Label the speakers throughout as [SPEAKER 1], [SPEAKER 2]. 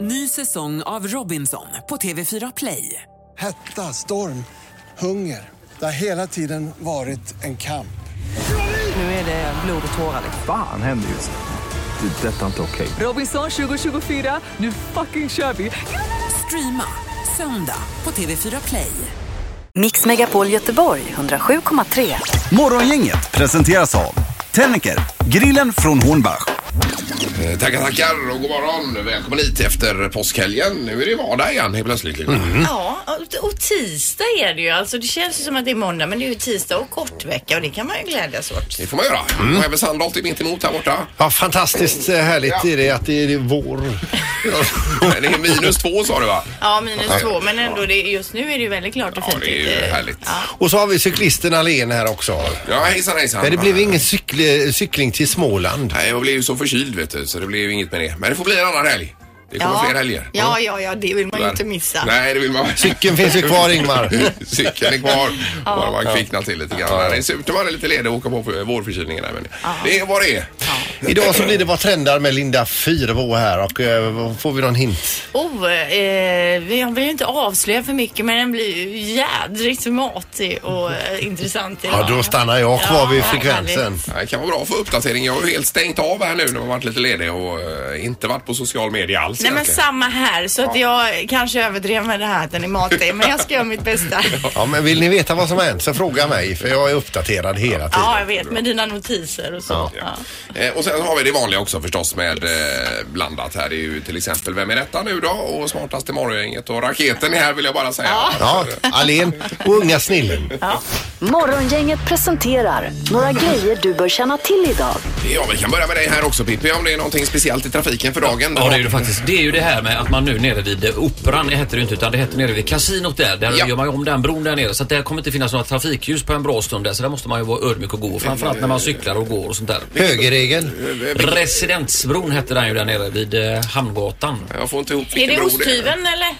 [SPEAKER 1] Ny säsong av Robinson på TV4 Play.
[SPEAKER 2] Hetta, storm, hunger. Det har hela tiden varit en kamp.
[SPEAKER 1] Nu är det blod och tårar. liksom.
[SPEAKER 3] Fan händer just nu. Det. är Detta är inte okej.
[SPEAKER 1] Robinson 2024, nu fucking kör vi! Streama söndag på TV4 Play.
[SPEAKER 4] Mix Megapol Göteborg 107,3.
[SPEAKER 5] Morgongänget presenteras av Tennicker, grillen från Hornbach.
[SPEAKER 6] Eh, Tackar, tackar och god morgon. Välkommen hit efter påskhelgen. Nu är det vardag igen helt plötsligt. liksom. Linda.
[SPEAKER 7] Mm.
[SPEAKER 8] Ja, och- och tisdag är det ju. Alltså det känns ju som att det är måndag men det är ju tisdag och kort vecka och det kan man ju glädjas åt.
[SPEAKER 6] Det får man göra.
[SPEAKER 7] Mm.
[SPEAKER 6] Och även Sandholt är mitt emot här borta.
[SPEAKER 7] Ja, fantastiskt eh, härligt
[SPEAKER 6] Ja.
[SPEAKER 7] är det att det är vår.
[SPEAKER 6] Men det är minus två sa du va?
[SPEAKER 8] Ja, minus två men ändå det, just nu är det ju väldigt klart och
[SPEAKER 6] Ja,
[SPEAKER 8] fint. Eh,
[SPEAKER 6] det är ju
[SPEAKER 8] ute.
[SPEAKER 6] härligt.
[SPEAKER 7] Och så har vi cyklisten Alén här också.
[SPEAKER 6] Ja, hejsan hejsan.
[SPEAKER 7] Men det blev ingen cykl, cykling till Småland.
[SPEAKER 6] Nej, jag blev ju så förkyld vet du, så det blev inget med det. Men det får bli en annan helg. Det kommer
[SPEAKER 8] Ja.
[SPEAKER 6] fler helger. Mm.
[SPEAKER 8] Ja, ja, ja, det vill man ju
[SPEAKER 6] Tyvärr.
[SPEAKER 8] inte missa.
[SPEAKER 6] Nej, det vill man
[SPEAKER 7] Cykeln finns ju kvar Ingmar.
[SPEAKER 6] Cykeln är kvar. Bara man kvicknar till lite grann. Det är surt om man är lite ledig och åker på för- vårförkylningen. här, Men det är vad det är.
[SPEAKER 7] Idag så blir det Vad trendar med Linda Fyrebo här och eh, vad- får vi någon hint?
[SPEAKER 8] Oh, eh, vi- jag vill ju inte avslöja för mycket men den blir ju jädrigt matig och eh, intressant idag.
[SPEAKER 7] Ja, då stannar jag kvar vid frekvensen.
[SPEAKER 8] härligt.
[SPEAKER 6] Det kan vara bra att få uppdatering. Jag har ju helt stängt av här nu när man varit lite ledig och eh, inte varit på social media alls
[SPEAKER 8] Nej men
[SPEAKER 6] egentligen.
[SPEAKER 8] samma här så att jag kanske överdrev med det här att den är matig men jag ska göra mitt bästa.
[SPEAKER 7] Ja, men vill ni veta vad som har hänt så fråga mig för jag är uppdaterad hela tiden.
[SPEAKER 8] Ja, jag vet med dina notiser och så. Ja.
[SPEAKER 6] Eh, Och sen har vi det vanliga också förstås med eh, blandat här. Det är ju till exempel Vem är detta nu då? Och smartaste morgongänget och raketen är här vill jag bara säga.
[SPEAKER 7] Ja, Alén och unga snillen.
[SPEAKER 4] Morgongänget presenterar några grejer du bör känna till idag.
[SPEAKER 6] Ja, vi kan börja med dig här också Pippi om det är någonting speciellt i trafiken för dagen.
[SPEAKER 9] Ja, det är ju det faktiskt. Det är ju det här med att man nu nere vid eh, Operan, det heter det ju inte, utan det heter nere vid kasinot där. Där
[SPEAKER 6] Ja.
[SPEAKER 9] gör man ju om den bron där nere. Så att det kommer inte finnas några trafikljus på en bra stund där. Så där måste man ju vara ödmjuk och gå. Framförallt när man cyklar och går och sånt där.
[SPEAKER 7] Högerregeln.
[SPEAKER 9] Residensbron hette den ju där nere vid eh, Hamngatan.
[SPEAKER 6] Jag får inte ihop
[SPEAKER 8] Är
[SPEAKER 6] vilken
[SPEAKER 8] det
[SPEAKER 6] bro
[SPEAKER 8] osthyveln eller?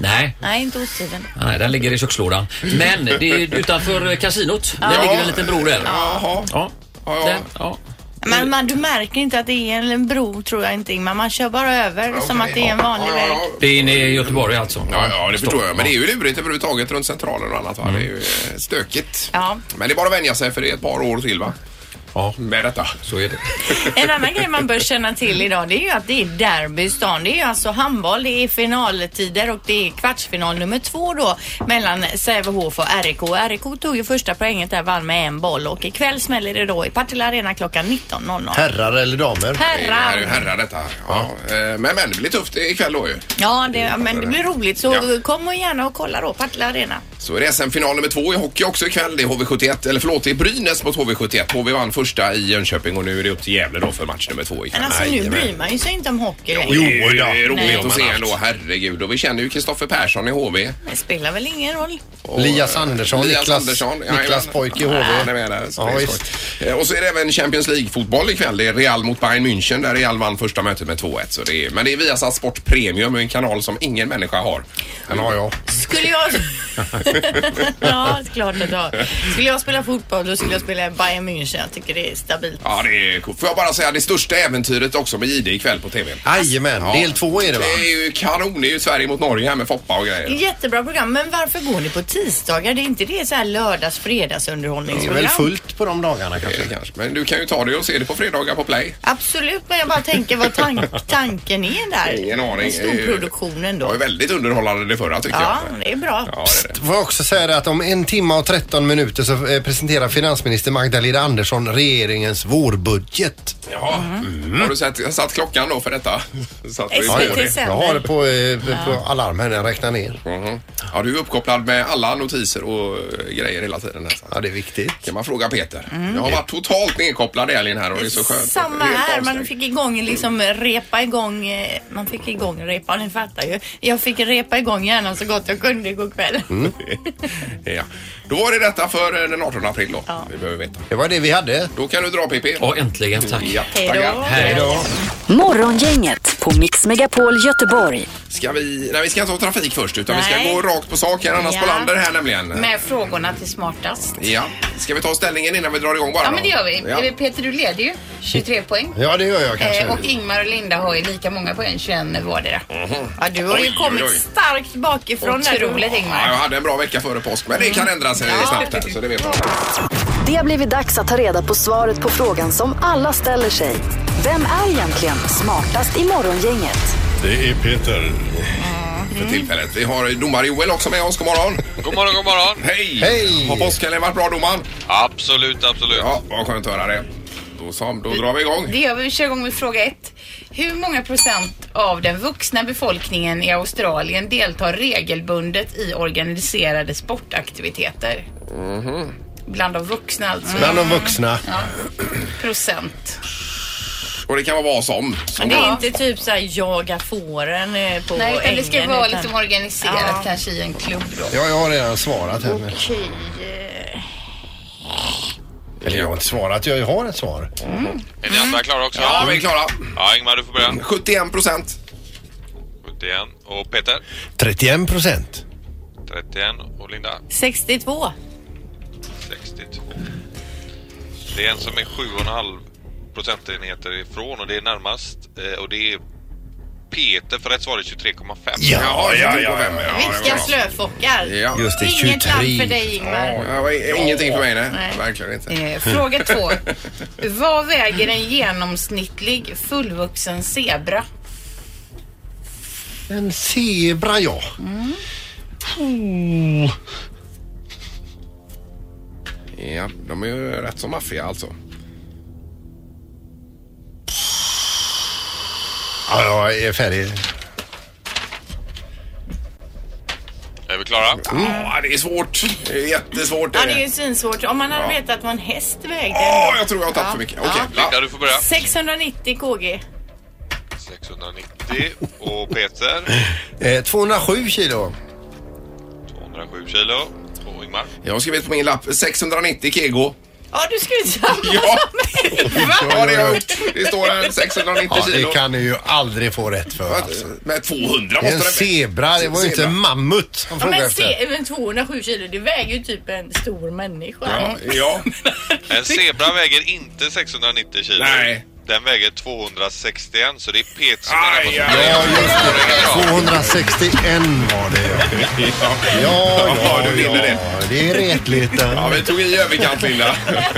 [SPEAKER 9] Nej.
[SPEAKER 8] Nej, inte osthyveln.
[SPEAKER 9] Nej, den ligger i kökslådan. Men det är utanför eh, kasinot. Där ligger en liten bro där.
[SPEAKER 6] Jaha.
[SPEAKER 9] Ja.
[SPEAKER 6] Ja, ja.
[SPEAKER 9] Den, ja.
[SPEAKER 8] Men man, du märker inte att det är en bro tror jag inte Ingmar. Man kör bara över
[SPEAKER 6] Okej.
[SPEAKER 8] som att det är en vanlig
[SPEAKER 6] ja,
[SPEAKER 8] väg.
[SPEAKER 6] Ja,
[SPEAKER 9] Det är inne i Göteborg alltså.
[SPEAKER 6] ja. ja, ja, det förstår jag. Men det är ju lurigt överhuvudtaget runt centralen och annat. Va? Det är ju eh, stökigt.
[SPEAKER 8] Ja.
[SPEAKER 6] Men det är bara att vänja sig för det är ett par år till va?
[SPEAKER 9] Ja.
[SPEAKER 6] Med detta.
[SPEAKER 9] Så är det.
[SPEAKER 8] En annan grej man bör känna till idag det är ju att det är derby i stan. Det är ju alltså handboll, det är finaltider och det är kvartsfinal nummer två då mellan Sävehof och RIK. RIK tog ju första poänget där, vann med en boll och ikväll smäller det då i Partille Arena klockan 19.00.
[SPEAKER 7] Herrar eller damer?
[SPEAKER 6] Det här är ju
[SPEAKER 8] Herrar!
[SPEAKER 6] herrar detta. Ja. eh, Men, men det blir tufft ikväll då ju.
[SPEAKER 8] Ja, det, men det blir roligt så
[SPEAKER 6] Ja.
[SPEAKER 8] kom och gärna och kolla då, Partille Arena.
[SPEAKER 6] Så är det SM-final nummer två i hockey också ikväll. Det är HV71, eller förlåt, det är Brynäs mot HV71. HV vann första i Jönköping och nu är det upp till Gävle då för match nummer två ikväll.
[SPEAKER 8] Men alltså nu bryr man ju sig inte om hockey längre.
[SPEAKER 6] Jo, det är
[SPEAKER 8] Nej.
[SPEAKER 6] roligt att se ändå, herregud. Och vi känner ju Kristoffer Persson i HV.
[SPEAKER 8] Det spelar väl ingen roll.
[SPEAKER 6] Och, eh,
[SPEAKER 7] Elias Andersson,
[SPEAKER 6] Elias
[SPEAKER 7] Niklas-
[SPEAKER 6] Andersson,
[SPEAKER 7] Niklas
[SPEAKER 6] jajamän.
[SPEAKER 7] pojk i HV.
[SPEAKER 6] Han är med där, så
[SPEAKER 7] Ja,
[SPEAKER 6] det är
[SPEAKER 7] visst.
[SPEAKER 6] skoj. Eh, Och så är det även Champions League-fotboll ikväll. Det är Real mot Bayern München där Real vann första mötet med 2-1. Så det är, men det är Viasat Sport Premium, en kanal som ingen människa har. Den har jag.
[SPEAKER 8] Skulle jag... ja, klart att jag Skulle jag spela fotboll då skulle jag spela Bayern München. Jag tycker det är stabilt.
[SPEAKER 6] Ja, det är coolt. Får jag bara säga det största äventyret också med JD ikväll på TV.
[SPEAKER 7] Jajamän, del två är det va?
[SPEAKER 6] Det är ju kanon. Det är ju Sverige mot Norge här med Foppa och
[SPEAKER 8] Det är
[SPEAKER 6] grejer.
[SPEAKER 8] Jättebra program, men varför går ni på tisdagar? Det är inte det så här lördags
[SPEAKER 7] Det är väl
[SPEAKER 8] fredagsunderhållningsprogram?
[SPEAKER 7] fullt på de dagarna kanske.
[SPEAKER 6] Eh, Kanske. Men du kan ju ta det och se det på fredagar på Play.
[SPEAKER 8] Absolut, men jag bara tänker vad tank- tanken är där.
[SPEAKER 6] Ingen aning.
[SPEAKER 8] Med Storproduktionen
[SPEAKER 6] Det var
[SPEAKER 8] då.
[SPEAKER 6] ju väldigt underhållande det förra tycker
[SPEAKER 8] Ja,
[SPEAKER 6] jag.
[SPEAKER 8] det är bra.
[SPEAKER 6] Ja, det är det.
[SPEAKER 7] Får jag också säga det att om en timme och 13 minuter så eh, presenterar finansminister Magdalena Andersson regeringens vårbudget.
[SPEAKER 6] Jaha.
[SPEAKER 8] Mhm.
[SPEAKER 6] Mm. Har du satt, satt klockan då för detta? Så att vi
[SPEAKER 8] Ja,
[SPEAKER 6] får det.
[SPEAKER 8] precis.
[SPEAKER 7] Jag har det på, eh, på alarm här när jag räknar ner.
[SPEAKER 6] Mhm. Ja, du är uppkopplad med alla notiser och eh, grejer hela tiden. Nästan.
[SPEAKER 7] Ja, det är viktigt.
[SPEAKER 6] Kan man fråga Peter? Jag har varit totalt nedkopplad i helgen här och det är så skönt.
[SPEAKER 8] Mm. Samma
[SPEAKER 6] Helt
[SPEAKER 8] här, man
[SPEAKER 6] avstängd.
[SPEAKER 8] fick igång liksom repa igång, eh, man fick igång repa, ni fattar ju. Jag fick repa igång hjärnan så gott jag kunde igår kväll.
[SPEAKER 6] Mm.
[SPEAKER 7] Mm.
[SPEAKER 6] ja. Då var det detta för eh, den 18 april då.
[SPEAKER 8] Ja.
[SPEAKER 6] Vi behöver veta.
[SPEAKER 7] Det var det vi hade.
[SPEAKER 6] Då kan du dra Pippi.
[SPEAKER 9] Ja, äntligen. Tack.
[SPEAKER 6] Ja,
[SPEAKER 8] Hej då.
[SPEAKER 6] tackar.
[SPEAKER 9] Hej då.
[SPEAKER 4] Morgongänget på Mix Megapol Göteborg.
[SPEAKER 6] Ska vi... Nej, vi ska inte ha trafik först utan vi ska
[SPEAKER 8] Nej.
[SPEAKER 6] gå rakt på sak här. Anna
[SPEAKER 8] Ja.
[SPEAKER 6] Spolander här nämligen.
[SPEAKER 8] Med frågorna till smartast.
[SPEAKER 6] Ja. Ska vi ta ställningen innan vi drar igång bara
[SPEAKER 8] Ja
[SPEAKER 6] då?
[SPEAKER 8] men det gör vi.
[SPEAKER 6] Ja. Mm.
[SPEAKER 8] Peter du leder ju 23 poäng.
[SPEAKER 7] Ja, det gör jag kanske.
[SPEAKER 8] Eh, och Ingmar och Linda har ju lika många poäng, 21 vardera. Ja, du har
[SPEAKER 6] Oj,
[SPEAKER 8] ju
[SPEAKER 6] Mhm. oj,
[SPEAKER 8] kommit
[SPEAKER 6] oj.
[SPEAKER 8] starkt bakifrån där. Otroligt
[SPEAKER 6] Ja, jag
[SPEAKER 8] Ingmar. Mm.
[SPEAKER 6] hade en bra vecka före påsk men det kan ändras eh,
[SPEAKER 8] Ja.
[SPEAKER 6] snabbt här, så det vet man.
[SPEAKER 4] Det har blivit dags att ta reda på svaret på frågan som alla ställer sig. Vem är egentligen smartast i morgongänget?
[SPEAKER 10] Det är Peter.
[SPEAKER 6] Mm. för tillfället. Vi har domar-Joel också med oss. God morgon!
[SPEAKER 11] God morgon, god morgon.
[SPEAKER 6] Hej!
[SPEAKER 7] Hej.
[SPEAKER 6] Har påskhelgen varit bra domaren?
[SPEAKER 11] Absolut, absolut.
[SPEAKER 6] Ja, vad skönt att höra det. Då, så, då drar vi igång.
[SPEAKER 8] Det gör vi. Vi kör igång med fråga ett. Hur många procent av den vuxna befolkningen i Australien deltar regelbundet i organiserade sportaktiviteter? Bland de vuxna alltså.
[SPEAKER 7] Bland de vuxna.
[SPEAKER 8] Procent.
[SPEAKER 6] Och det kan vara vad som. som
[SPEAKER 8] det är
[SPEAKER 11] Inte typ såhär jaga fåren eh, på
[SPEAKER 8] Nej, utan det ska
[SPEAKER 11] ängen,
[SPEAKER 8] vara
[SPEAKER 11] utan-
[SPEAKER 8] liksom organiserat kanske i en klubb då.
[SPEAKER 7] Ja, jag har redan svarat här. men-
[SPEAKER 11] Okej.
[SPEAKER 7] Eller jag har inte svarat, jag har ett svar.
[SPEAKER 11] Är ni andra klara också? Mm.
[SPEAKER 6] Ja, vi är klara.
[SPEAKER 11] Ja, Ingmar du får börja.
[SPEAKER 6] 71 procent.
[SPEAKER 11] 71 och Peter.
[SPEAKER 7] 31 procent.
[SPEAKER 11] 31 och Linda.
[SPEAKER 8] 62.
[SPEAKER 11] 62. Det är en som är 7,5 procentenheter ifrån och det är närmast eh, och det är Peter för rätt svar är 23,5.
[SPEAKER 6] Ja, ja, ja. ja, det var
[SPEAKER 8] Vilka
[SPEAKER 6] bra.
[SPEAKER 8] slöfockar.
[SPEAKER 6] Ja.
[SPEAKER 7] Just det,
[SPEAKER 8] Äh. Inget land för
[SPEAKER 7] 23.
[SPEAKER 8] dig Ingmar.
[SPEAKER 6] Ja, det var ingenting för mig, nej.
[SPEAKER 8] Nej.
[SPEAKER 6] Verkligen inte.
[SPEAKER 8] Eh, fråga två. Vad väger en genomsnittlig fullvuxen zebra?
[SPEAKER 7] En zebra, ja.
[SPEAKER 6] Mm.
[SPEAKER 7] Oh.
[SPEAKER 6] Ja, de är ju rätt så maffiga alltså.
[SPEAKER 7] Ja, jag är färdig.
[SPEAKER 11] Är vi klara?
[SPEAKER 6] Mm. Ja, det är svårt. Det är jättesvårt.
[SPEAKER 8] Ja,
[SPEAKER 6] är
[SPEAKER 8] det är
[SPEAKER 6] det.
[SPEAKER 8] ju svinsvårt. Om man hade vetat vad en häst vägde.
[SPEAKER 6] Åh, jag tror jag har tagit för mycket. Okej.
[SPEAKER 11] Linda
[SPEAKER 6] ja.
[SPEAKER 11] du får börja.
[SPEAKER 8] 690 kg.
[SPEAKER 11] 690 och Peter
[SPEAKER 7] Eh, 207 kilo.
[SPEAKER 11] 207 kilo och Ingmar.
[SPEAKER 6] Jag har skrivit på min lapp 690 kego.
[SPEAKER 8] Ja, du skulle samma
[SPEAKER 6] Ja.
[SPEAKER 8] som mig. Va?
[SPEAKER 6] Ja, det har jag gjort. Det står här 690
[SPEAKER 7] Ja,
[SPEAKER 6] kilo.
[SPEAKER 7] det kan du ju aldrig få rätt för. Alltså.
[SPEAKER 6] Med 200
[SPEAKER 7] En
[SPEAKER 6] måste det
[SPEAKER 7] zebra, det var ju inte
[SPEAKER 6] Zebra.
[SPEAKER 7] en mammut som
[SPEAKER 8] Ja,
[SPEAKER 7] frågade
[SPEAKER 8] men
[SPEAKER 7] efter.
[SPEAKER 8] se, men 207 kilo, det väger ju typ en stor människa.
[SPEAKER 6] Ja, ja.
[SPEAKER 11] En zebra väger inte 690 kilo.
[SPEAKER 6] Nej.
[SPEAKER 11] Den väger 261 så det är Peter som är
[SPEAKER 6] Aj, aj,
[SPEAKER 11] närmast.
[SPEAKER 7] Ja,
[SPEAKER 6] aj.
[SPEAKER 7] just det. 261 var det. ja. Ja, ja,
[SPEAKER 6] du
[SPEAKER 7] ja.
[SPEAKER 6] vinner det.
[SPEAKER 7] Det är retligt.
[SPEAKER 6] Ja,
[SPEAKER 7] ja.
[SPEAKER 6] vi tog i överkant, Linda.
[SPEAKER 8] Men
[SPEAKER 6] Det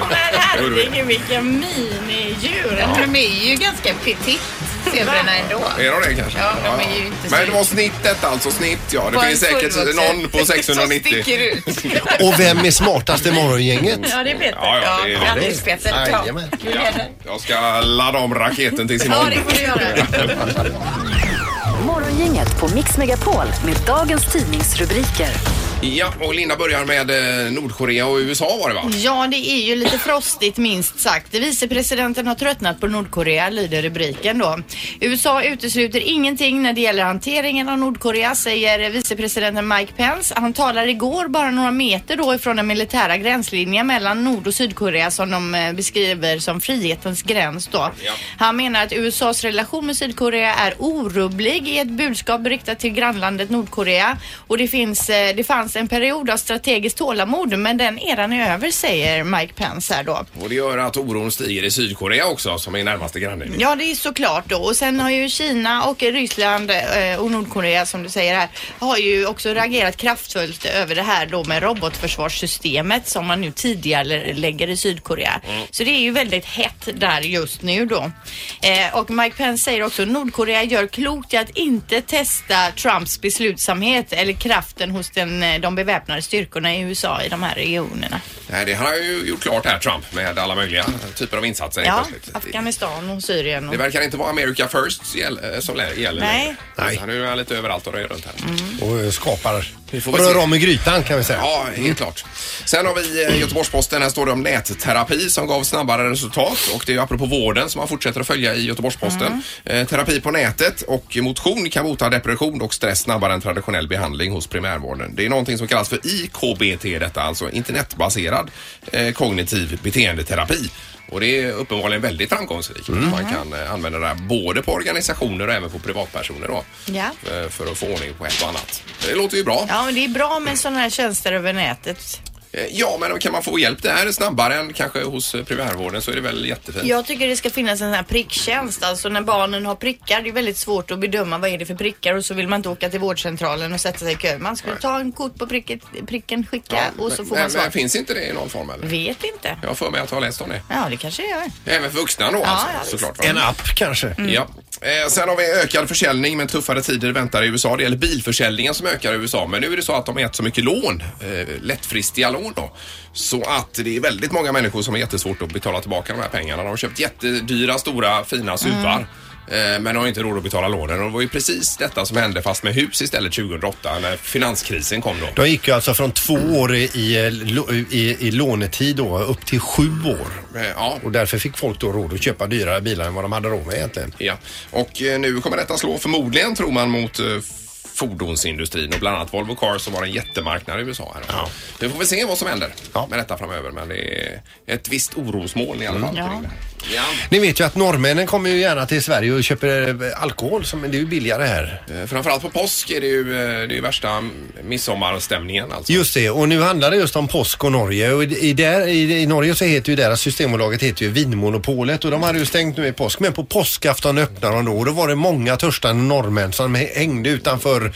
[SPEAKER 6] gjorde vi.
[SPEAKER 8] herregud, vilka minidjur. De är ju ganska petit, zebrorna ändå.
[SPEAKER 6] Är de det kanske?
[SPEAKER 8] Ja, de är ju inte så-
[SPEAKER 6] Men det var snittet alltså, snitt ja. Det
[SPEAKER 8] På en
[SPEAKER 6] finns säkert
[SPEAKER 8] fullvuxen
[SPEAKER 6] någon på 690.
[SPEAKER 8] Som sticker ut.
[SPEAKER 7] Och vem är smartast i morgongänget?
[SPEAKER 8] Ja, det är Peter.
[SPEAKER 6] Ja, ja, det är-
[SPEAKER 8] Grattis Peter. Ja.
[SPEAKER 7] Jajamän.
[SPEAKER 8] Du leder.
[SPEAKER 6] Jag ska ladda om raketen tills
[SPEAKER 8] Ja,
[SPEAKER 6] imorgon.
[SPEAKER 8] det får du göra.
[SPEAKER 4] Morgongänget på Mix Megapol med dagens tidningsrubriker.
[SPEAKER 6] Ja, och Linda börjar med eh, Nordkorea och USA var det va?
[SPEAKER 8] Ja, det är ju lite frostigt minst sagt. Vicepresidenten har tröttnat på Nordkorea, lyder rubriken då. USA utesluter ingenting när det gäller hanteringen av Nordkorea, säger vicepresidenten Mike Pence. Han talar igår bara några meter då ifrån den militära gränslinjen mellan Nord och Sydkorea som de eh, beskriver som frihetens gräns då. Han menar att USAs relation med Sydkorea är orubblig i ett budskap riktat till grannlandet Nordkorea och det, finns, eh, det fanns en period av strategiskt tålamod men den eran är över säger Mike Pence här då.
[SPEAKER 6] Och det gör att oron stiger i Sydkorea också som är närmaste granne.
[SPEAKER 8] Ja, det är såklart då. Och sen har ju Kina och Ryssland eh, och Nordkorea som du säger här har ju också reagerat kraftfullt över det här då med robotförsvarssystemet som man nu tidigare lägger i Sydkorea.
[SPEAKER 6] Mm.
[SPEAKER 8] Så det är ju väldigt hett där just nu då. Eh, och Mike Pence säger också Nordkorea gör klokt i att inte testa Trumps beslutsamhet eller kraften hos den, eh, de beväpnade styrkorna i USA i de här regionerna.
[SPEAKER 6] Nej, det har han ju gjort klart här Trump med alla möjliga typer av insatser. helt
[SPEAKER 8] Ja,
[SPEAKER 6] plötsligt.
[SPEAKER 8] Afghanistan och Syrien. Och...
[SPEAKER 6] Det verkar inte vara America first gäll- eh, som lä- gäller.
[SPEAKER 8] Nej.
[SPEAKER 6] längre.
[SPEAKER 7] Nej.
[SPEAKER 6] Utan Nu är han lite överallt och rör runt här.
[SPEAKER 7] Och eh, skapar.
[SPEAKER 6] Mm. får
[SPEAKER 7] Och
[SPEAKER 6] väl se.
[SPEAKER 7] rör om i grytan kan vi säga. Mm.
[SPEAKER 6] Ja, helt klart. Sen har vi eh, Göteborgs-Posten. Här står det om nätterapi som gav snabbare resultat. Och det är ju apropå vården som man fortsätter att följa i Göteborgs-Posten. Eh, terapi på nätet och motion kan bota depression och stress snabbare än traditionell behandling hos primärvården. Det är någonting som kallas för IKBT detta, alltså internetbaserad eh, kognitiv beteendeterapi. Och det är uppenbarligen väldigt framgångsrikt. Man kan eh, använda det här både på organisationer och även på privatpersoner då.
[SPEAKER 8] Ja.
[SPEAKER 6] Eh, För att få ordning på ett och annat. Det låter ju bra.
[SPEAKER 8] Ja, men det är bra med sådana här tjänster över nätet.
[SPEAKER 6] Eh, Ja, men kan man få hjälp där snabbare än kanske hos eh, primärvården så är det väl jättefint.
[SPEAKER 8] Jag tycker det ska finnas en sån här pricktjänst. Alltså när barnen har prickar, det är väldigt svårt att bedöma vad är det för prickar och så vill man inte åka till vårdcentralen och sätta sig i kö. Man skulle ta en kort på pricket, pricken, skicka och så får
[SPEAKER 6] men,
[SPEAKER 8] man svar.
[SPEAKER 6] men finns inte det i någon form eller?
[SPEAKER 8] Vet inte.
[SPEAKER 6] Jag har för mig att jag har läst om det.
[SPEAKER 8] Ja, det kanske det gör.
[SPEAKER 6] Även för vuxna då alltså,
[SPEAKER 8] ja, visst. Mm.
[SPEAKER 6] såklart. va?
[SPEAKER 7] En app kanske?
[SPEAKER 6] Ja. Eh, sen har vi ökad försäljning men tuffare tider väntar i USA. Det gäller bilförsäljningen som ökar i USA. Men nu är det så att de har gett så mycket lån, eh, lättfristiga lån då. Så att det är väldigt många människor som har jättesvårt att betala tillbaka de här pengarna. De har köpt jättedyra, stora, fina suvar.
[SPEAKER 8] Mm.
[SPEAKER 6] eh, Men har inte råd att betala lånen. Och det var ju precis detta som hände fast med hus istället 2008 när finanskrisen kom då.
[SPEAKER 7] De gick ju alltså från två år i, i, lo- i, i lånetid då, upp till sju år.
[SPEAKER 6] Eh, Ja,
[SPEAKER 7] Och därför fick folk då råd att köpa dyrare bilar än vad de hade råd med egentligen.
[SPEAKER 6] Ja, och eh, nu kommer detta slå förmodligen tror man mot eh, fordonsindustrin och bland annat Volvo Cars som har en jättemarknad i USA. Här.
[SPEAKER 7] Ja.
[SPEAKER 6] Nu får vi se vad som händer
[SPEAKER 7] Ja.
[SPEAKER 6] med detta framöver men det är ett visst orosmoln i
[SPEAKER 7] Mm.
[SPEAKER 6] alla fall.
[SPEAKER 8] Ja.
[SPEAKER 6] kring det här. Ja.
[SPEAKER 7] Ni vet ju att norrmännen kommer ju gärna till Sverige och köper eh, alkohol som det är ju billigare här.
[SPEAKER 6] Eh, Framförallt på påsk är det ju, eh, det är ju värsta mm, midsommarstämningen alltså.
[SPEAKER 7] Just det, och nu handlar det just om påsk och Norge. Och i, i där, i, I Norge så heter ju deras systembolaget heter ju Vinmonopolet och de hade ju stängt nu i påsk. Men på påskafton öppnade de då och då var det många törstande norrmän som hängde utanför... eh,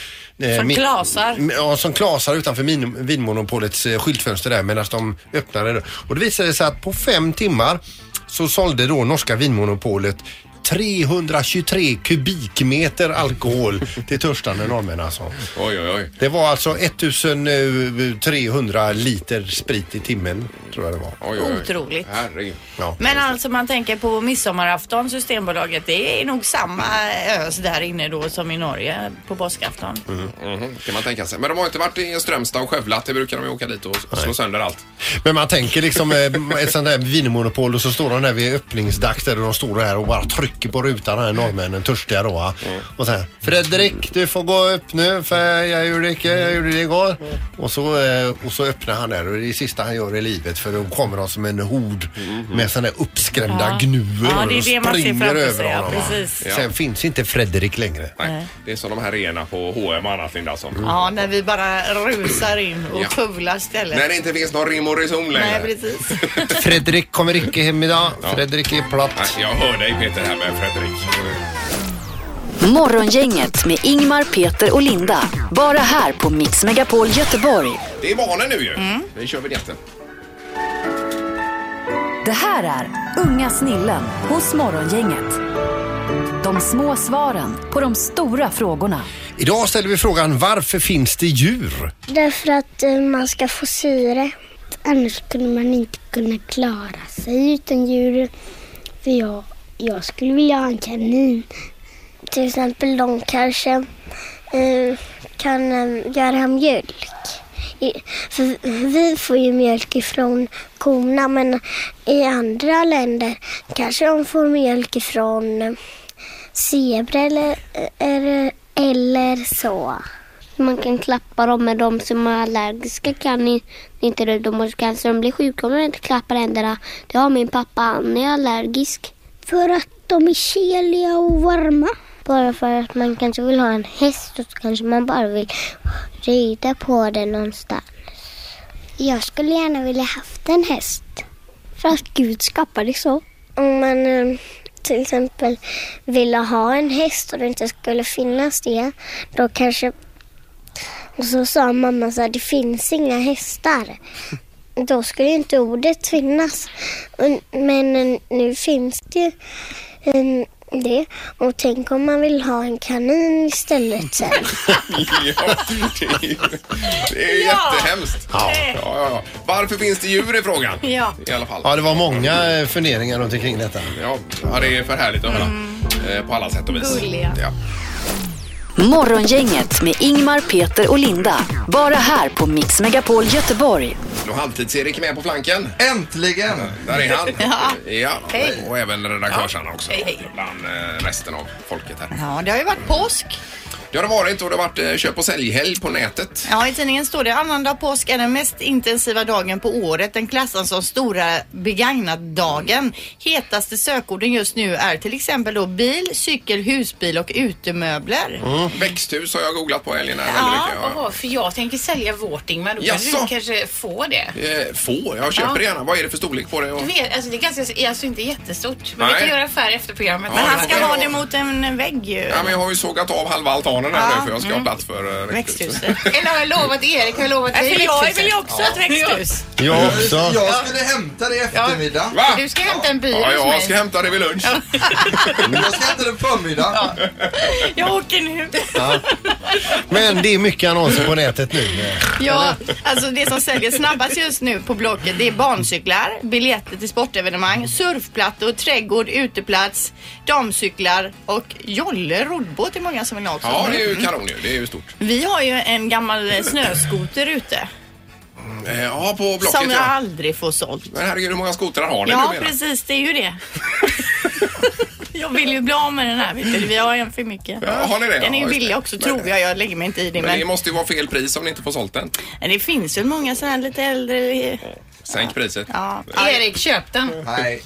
[SPEAKER 8] Som
[SPEAKER 7] mi-
[SPEAKER 8] klasar.
[SPEAKER 7] Mm, Ja, som klasar utanför min, Vinmonopolets eh, skyltfönster där medan de öppnade. det. Och det visade sig att på fem timmar så sålde då norska Vinmonopolet 323 kubikmeter alkohol till törstande norrmän alltså.
[SPEAKER 6] Oj, oj, oj.
[SPEAKER 7] Det var alltså 1300 liter sprit i timmen, tror jag det var.
[SPEAKER 6] oj, oj, oj.
[SPEAKER 8] Otroligt.
[SPEAKER 6] Herregud.
[SPEAKER 7] Ja.
[SPEAKER 8] Men alltså man tänker på midsommarafton, Systembolaget, det är nog samma ös där inne då som i Norge på påskafton.
[SPEAKER 7] Mm.
[SPEAKER 6] Mhm, kan man tänka sig. Men de har inte varit i Strömstad och skövlat. Det brukar de ju åka dit och slå sönder allt.
[SPEAKER 7] Men man tänker liksom eh, ett sånt där vinmonopol och så står de där vid öppningsdags där och de står där och bara trycker på rutan här norrmännen, törstiga då. va? Och så här, Fredrik du får gå upp nu för jag gjorde det, jag gjorde det igår. Och så, eh, och så öppnar han där och det är det sista han gör i livet för då kommer de som en hord med sådana där uppskrämda gnuer
[SPEAKER 8] Ja, det är det
[SPEAKER 7] och
[SPEAKER 8] man ser
[SPEAKER 7] springer
[SPEAKER 8] framför sig,
[SPEAKER 7] över
[SPEAKER 8] ja,
[SPEAKER 7] honom. va?
[SPEAKER 8] precis.
[SPEAKER 6] Ja.
[SPEAKER 7] Sen finns inte Fredrik längre.
[SPEAKER 6] Nej.
[SPEAKER 8] Nej.
[SPEAKER 6] Det är som de här reorna på H&M och annat Linda. Som.
[SPEAKER 8] Ja, när vi bara rusar in och
[SPEAKER 6] Ja.
[SPEAKER 8] kuvlar stället.
[SPEAKER 6] När det inte finns någon rim och reson längre.
[SPEAKER 8] Nej, precis.
[SPEAKER 7] Fredrik kommer icke hem idag. Fredrik är
[SPEAKER 6] Nej,
[SPEAKER 7] platt.
[SPEAKER 6] Jag hör dig Peter här med Fredrik.
[SPEAKER 7] Mm.
[SPEAKER 4] Morgongänget med Ingmar, Peter och Linda. Bara här på Mix Megapol Göteborg.
[SPEAKER 6] Det är barnen nu ju. Vi kör vinjetten.
[SPEAKER 4] Det här är Unga snillen hos Morgongänget. De små svaren på de stora frågorna.
[SPEAKER 7] Idag ställer vi frågan varför finns det djur?
[SPEAKER 10] Därför att eh, man ska få syre. Annars skulle man inte kunna klara sig utan djur. För jag, jag skulle vilja ha en kanin. Till exempel de kanske eh, kan eh, göra mjölk. I- För vi får ju mjölk ifrån korna men i andra länder kanske de får mjölk ifrån eh, zebra eller, eller, eller så. Man kan klappa dem, men de som är allergiska kan i- inte det. De måste- kanske de blir sjuka om de inte klappar händerna. Det har min pappa, han är allergisk. För att de är keliga och varma. Bara för att man kanske vill ha en häst och så kanske man bara vill rida på den någonstans. Jag skulle gärna vilja haft en häst. För att Gud skapade så. Om man eh, till exempel ville ha en häst och det inte skulle finnas det, då kanske... Och så sa mamma så här, det finns inga hästar. Då skulle ju inte ordet finnas. Och- Men eh, nu finns det ju eh, det. Och tänk om man vill ha en kanin istället sen.
[SPEAKER 6] Ja, det är ju, det är ju
[SPEAKER 8] Ja.
[SPEAKER 6] jättehemskt. Ja. Ja, ja. Varför finns det djur i frågan?
[SPEAKER 8] Ja.
[SPEAKER 6] I alla fall.
[SPEAKER 7] Ja, det var många eh, funderingar runt omkring detta.
[SPEAKER 6] Ja, ja, det är för härligt att höra. Eh, På alla sätt och vis.
[SPEAKER 8] Gulliga.
[SPEAKER 6] Ja.
[SPEAKER 4] Morgongänget med Ingmar, Peter och Linda. Bara här på Mix Megapol Göteborg.
[SPEAKER 6] Nu har Halvtids-Erik med på flanken.
[SPEAKER 5] Äntligen!
[SPEAKER 6] Där är han.
[SPEAKER 8] Ja. Hej.
[SPEAKER 6] ja. Och även redaktörsarna också.
[SPEAKER 8] Hej, hej.
[SPEAKER 6] Bland eh, resten av folket här.
[SPEAKER 8] Ja, det har ju varit påsk.
[SPEAKER 6] Det har det varit och det har varit eh, köp och säljhelg på nätet.
[SPEAKER 8] Ja, i tidningen står det annandag påsk är den mest intensiva dagen på året. Den klassas som stora begagnatdagen. Hetaste sökorden just nu är till exempel då bil, cykel, husbil och utemöbler.
[SPEAKER 6] Växthus har jag googlat på helgen här väldigt
[SPEAKER 12] Ja,
[SPEAKER 6] mycket. Ja.
[SPEAKER 12] aha, för jag tänker sälja vårt Ingmar. Då
[SPEAKER 6] Jaså?
[SPEAKER 12] kanske du kanske får det.
[SPEAKER 6] Eh, få, jag köper
[SPEAKER 12] Ja.
[SPEAKER 6] det gärna. Vad är det för storlek på det? Och...
[SPEAKER 12] Du vet, alltså det är ganska, alltså inte jättestort. Men
[SPEAKER 6] Nej.
[SPEAKER 12] vi kan göra affär efter programmet.
[SPEAKER 6] Ja, Men han det ska får vi ha göra. det
[SPEAKER 8] mot en vägg ju.
[SPEAKER 6] Ja, men jag har ju sågat av halva altanen här
[SPEAKER 12] Ja,
[SPEAKER 6] nu för jag ska
[SPEAKER 8] Mm.
[SPEAKER 6] ha plats för eh, växthuset.
[SPEAKER 12] Eller har jag lovat Erik? Har jag lovat
[SPEAKER 8] Nej,
[SPEAKER 12] dig
[SPEAKER 8] för jag
[SPEAKER 12] växthuset?
[SPEAKER 8] vill ju också ha ett växthus.
[SPEAKER 7] Jag också.
[SPEAKER 13] Jag skulle hämta det i eftermiddag.
[SPEAKER 6] Va?
[SPEAKER 12] Du ska hämta en byrå
[SPEAKER 6] Ja,
[SPEAKER 12] hos
[SPEAKER 6] jag
[SPEAKER 12] mig.
[SPEAKER 6] ska hämta det vid
[SPEAKER 13] Jag
[SPEAKER 6] lunch.
[SPEAKER 13] ska hämta det på förmiddag.
[SPEAKER 12] Jag åker nu.
[SPEAKER 7] Ja. Men det är mycket annonser på nätet nu.
[SPEAKER 8] Ja, alltså det som säljer snabbast just nu på Blocket det är barncyklar, biljetter till sportevenemang, surfplattor, trädgård, uteplats, damcyklar och jolle roddbåt är många som vill ha också.
[SPEAKER 6] Ja, det är ju
[SPEAKER 8] Mm.
[SPEAKER 6] kanon ju. Det är ju stort.
[SPEAKER 8] Vi har ju en gammal eh, snöskoter ute.
[SPEAKER 6] Eh, Ja, på Blocket
[SPEAKER 8] som jag
[SPEAKER 6] ja.
[SPEAKER 8] aldrig får sålt.
[SPEAKER 6] Men herregud, hur många skotrar har ni
[SPEAKER 8] Ja,
[SPEAKER 6] numera?
[SPEAKER 8] precis. Det är ju det. jag vill ju bli av med den här. Vet du. Vi har en för mycket.
[SPEAKER 6] Ja, har ni det?
[SPEAKER 8] Den
[SPEAKER 6] Ja,
[SPEAKER 8] är ju
[SPEAKER 6] just det.
[SPEAKER 8] billig också,
[SPEAKER 6] Men-
[SPEAKER 8] tror jag. Jag lägger mig inte i det.
[SPEAKER 6] Men det
[SPEAKER 8] Men,
[SPEAKER 6] måste ju vara fel pris om ni inte får sålt den.
[SPEAKER 8] men det finns ju många sådana här lite äldre...
[SPEAKER 6] Sänk priset. Eh,
[SPEAKER 8] Ja.
[SPEAKER 12] Erik, köp den.
[SPEAKER 13] Nej.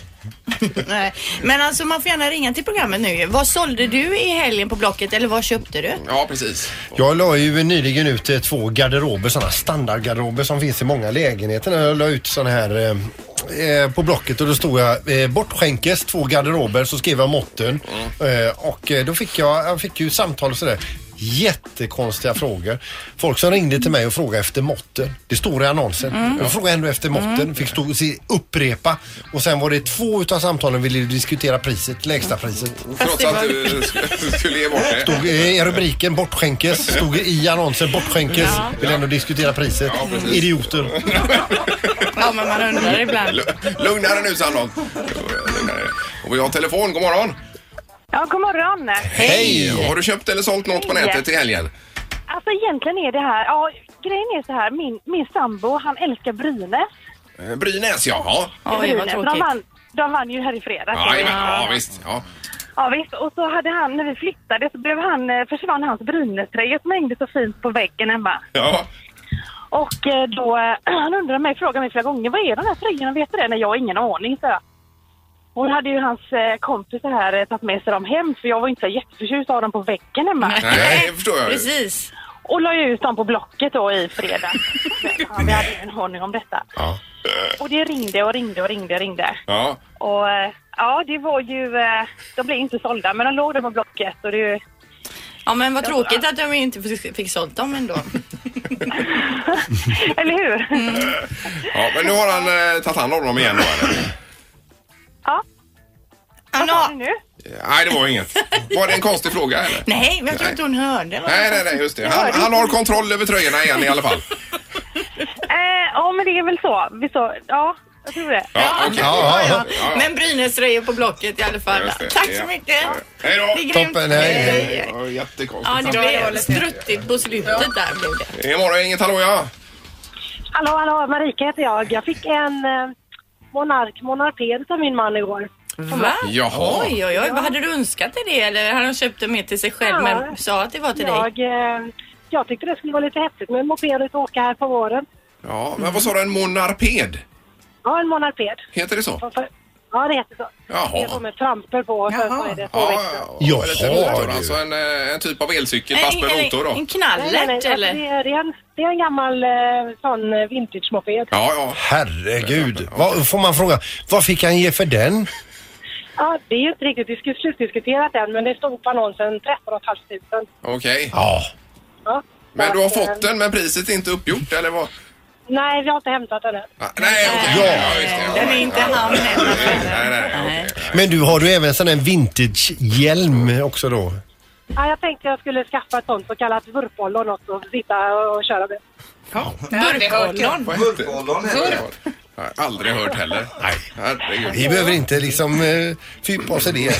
[SPEAKER 8] Nej. Men alltså man får gärna ringa till programmet nu. Vad sålde du i helgen på Blocket eller vad köpte du?
[SPEAKER 6] Ja, precis.
[SPEAKER 7] Jag la ju nyligen ut eh, två garderober, sådana standardgarderober som finns i många lägenheter. Jag la ut sådana här eh, eh, på Blocket och då stod jag eh, bortskänkes två garderober så skrev jag måtten eh, och eh, då fick jag, jag fick ju samtal och sådär. Jättekonstiga frågor. Folk som ringde till mig och frågade efter måtten. Det står i annonsen. Jag frågade ändå efter måtten. Fick stå, se, upprepa. Och sen var det två utav samtalen ville diskutera priset, lägsta priset.
[SPEAKER 6] Trots att du sk- skulle ge bort det.
[SPEAKER 7] Stod eh, i rubriken bortskänkes, stod i annonsen bortskänkes. Vill ändå diskutera priset. Idioter.
[SPEAKER 8] Ja, men man undrar ibland.
[SPEAKER 6] Lu- Lugnare nu Sandholt. Lugnare. Och vi har telefon, god morgon.
[SPEAKER 1] Ja, god morgon.
[SPEAKER 6] Har du köpt eller sålt något på
[SPEAKER 1] Hej.
[SPEAKER 6] nätet i helgen?
[SPEAKER 1] Alltså egentligen är det här, ja grejen är så här, min, min sambo han älskar Brynäs.
[SPEAKER 6] Eh, Brynäs, jaha.
[SPEAKER 1] Brynäs, de, vann, de vann ju här i fredags.
[SPEAKER 6] Ja, jajamän. ja visst. Ja.
[SPEAKER 1] Ja, visst, och så hade han, när vi flyttade så blev han, eh, försvann hans Brynäs-tröja som hängde så fint på väggen hemma.
[SPEAKER 6] Ja.
[SPEAKER 1] Och eh, då, eh, han undrade mig, frågade mig flera gånger, vad är de här tröjorna, vet du det? Nej, jag har ingen aning, så jag. Och då hade ju hans eh, kompisar här eh, tagit med sig dem hem, för jag var inte så jätteförtjust av dem på väggen hemma.
[SPEAKER 6] Nej, det förstår jag.
[SPEAKER 8] Precis.
[SPEAKER 1] Och la ju ut dem på Blocket då i fredag. ja, vi hade ju en aning om detta.
[SPEAKER 6] Ja.
[SPEAKER 1] Och det ringde och ringde och ringde och ringde.
[SPEAKER 6] Ja.
[SPEAKER 1] Och eh, ja, det var ju... eh, De blev inte sålda, men de låg där på Blocket och det...
[SPEAKER 8] Ja men vad tråkigt att de inte fick- fick sålt dem ändå.
[SPEAKER 1] Eller hur?
[SPEAKER 8] Mm.
[SPEAKER 6] ja, men nu har han eh, tagit hand om dem igen då eller?
[SPEAKER 8] Vad sa du
[SPEAKER 1] nu?
[SPEAKER 6] Nej, det var inget. Var det en konstig fråga eller?
[SPEAKER 8] Nej, men jag tror inte hon hörde. vad
[SPEAKER 6] Nej,
[SPEAKER 8] jag sa.
[SPEAKER 6] nej, nej, just det. Han, han har kontroll över tröjorna igen i alla fall.
[SPEAKER 1] Eh, ja, men det är väl så. Vi så ja, jag tror det.
[SPEAKER 6] Ja, okej.
[SPEAKER 7] Ja, ja,
[SPEAKER 6] ja.
[SPEAKER 8] Men Brynäsröjor på Blocket i alla fall.
[SPEAKER 6] Just det.
[SPEAKER 8] Tack
[SPEAKER 6] Ja.
[SPEAKER 8] så mycket.
[SPEAKER 6] Hej då!
[SPEAKER 8] Det är grymt.
[SPEAKER 7] Toppen, hej, hej.
[SPEAKER 6] Det var Jättekonstigt.
[SPEAKER 8] Ja, det blev struttigt på slutet där blev det.
[SPEAKER 6] Imorgon, inget hallå ja.
[SPEAKER 1] Hallå, hallå, Marika heter jag. Jag fick en eh, monark, monarped av min man igår.
[SPEAKER 8] Va?
[SPEAKER 6] Jaha.
[SPEAKER 8] Oj, oj, oj. Vad hade du önskat dig det? Eller hade han köpt det med till sig själv men sa att det var till dig?
[SPEAKER 1] Jag, eh, jag tyckte det skulle vara lite häftigt med en moped ut och åka här på våren.
[SPEAKER 6] Ja, men vad sa du? En monarped?
[SPEAKER 1] Ja, en monarped.
[SPEAKER 6] Heter det så?
[SPEAKER 1] Ja, det heter så.
[SPEAKER 6] Jaha.
[SPEAKER 1] Det är som med trampor på och sen så är det två
[SPEAKER 6] Ja,
[SPEAKER 1] växlar.
[SPEAKER 6] ja, ja.
[SPEAKER 7] Jaha,
[SPEAKER 6] Motor,
[SPEAKER 7] du.
[SPEAKER 6] alltså en, eh, en typ av elcykel
[SPEAKER 8] En-
[SPEAKER 6] fast med
[SPEAKER 8] en-
[SPEAKER 6] motor då.
[SPEAKER 8] En
[SPEAKER 1] Nej, nej, nej.
[SPEAKER 8] knallert
[SPEAKER 1] Alltså,
[SPEAKER 8] eller?
[SPEAKER 1] det, är, det, är en, det är en gammal eh, sån eh, vintage-moped.
[SPEAKER 6] Ja, ja.
[SPEAKER 7] Herregud. Vad, får man fråga, vad fick han ge för den?
[SPEAKER 1] Ja, det är ju inte riktigt disk- slutdiskuterat än, men det stod på annonsen 13 500.
[SPEAKER 6] Okej.
[SPEAKER 7] Ja.
[SPEAKER 1] Ja.
[SPEAKER 6] Men du har
[SPEAKER 1] Så att,
[SPEAKER 6] fått
[SPEAKER 1] eh,
[SPEAKER 6] den men priset är inte uppgjort eller vad?
[SPEAKER 1] Nej, vi har inte hämtat den än.
[SPEAKER 6] Ah, Nej, okej.
[SPEAKER 7] Ja.
[SPEAKER 6] just det.
[SPEAKER 8] Den är inte han än.
[SPEAKER 6] Nej, nej, nej.
[SPEAKER 8] Nej.
[SPEAKER 7] Men du, har du även sån här vintage-hjälm också då?
[SPEAKER 1] Ja, jag tänkte jag skulle skaffa ett sånt så kallat vurpboll och något och sitta och köra med.
[SPEAKER 8] Burkollon.
[SPEAKER 6] Vad heter det?
[SPEAKER 13] Vurpbollen heter det.
[SPEAKER 6] Jag har aldrig hört heller. Nej.
[SPEAKER 7] Vi
[SPEAKER 6] Herregud.
[SPEAKER 7] behöver inte liksom eh, fypa oss i det.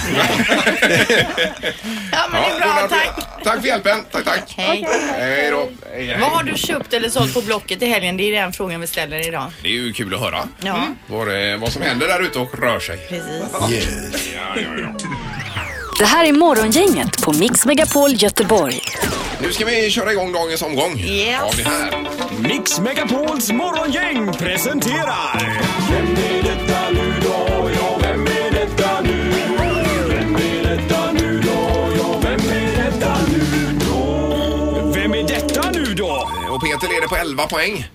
[SPEAKER 8] Ja, men det är bra.
[SPEAKER 6] Gunnar,
[SPEAKER 8] Tack.
[SPEAKER 6] Tack för hjälpen. Tack, tack.
[SPEAKER 8] Hej.
[SPEAKER 6] Hej då. Hej, hej.
[SPEAKER 8] Vad har du köpt eller sålt på Blocket i helgen? Det är den frågan vi ställer idag.
[SPEAKER 6] Det är ju kul att höra.
[SPEAKER 8] Ja,
[SPEAKER 6] Vad, det, vad som händer där ute och rör sig.
[SPEAKER 8] precis.
[SPEAKER 6] Ja, ja, ja.
[SPEAKER 4] Det här är Morgongänget på Mix Megapol Göteborg.
[SPEAKER 6] Nu ska vi köra igång dagens omgång.
[SPEAKER 8] Yes.
[SPEAKER 6] Ja, det här.
[SPEAKER 14] Mix Megapols morgongäng presenterar... Vem är detta nu då? Ja, vem är detta nu? Vem är detta nu då? Ja, vem är detta nu då? Vem är detta nu då?
[SPEAKER 6] Och Peter leder på 11 poäng.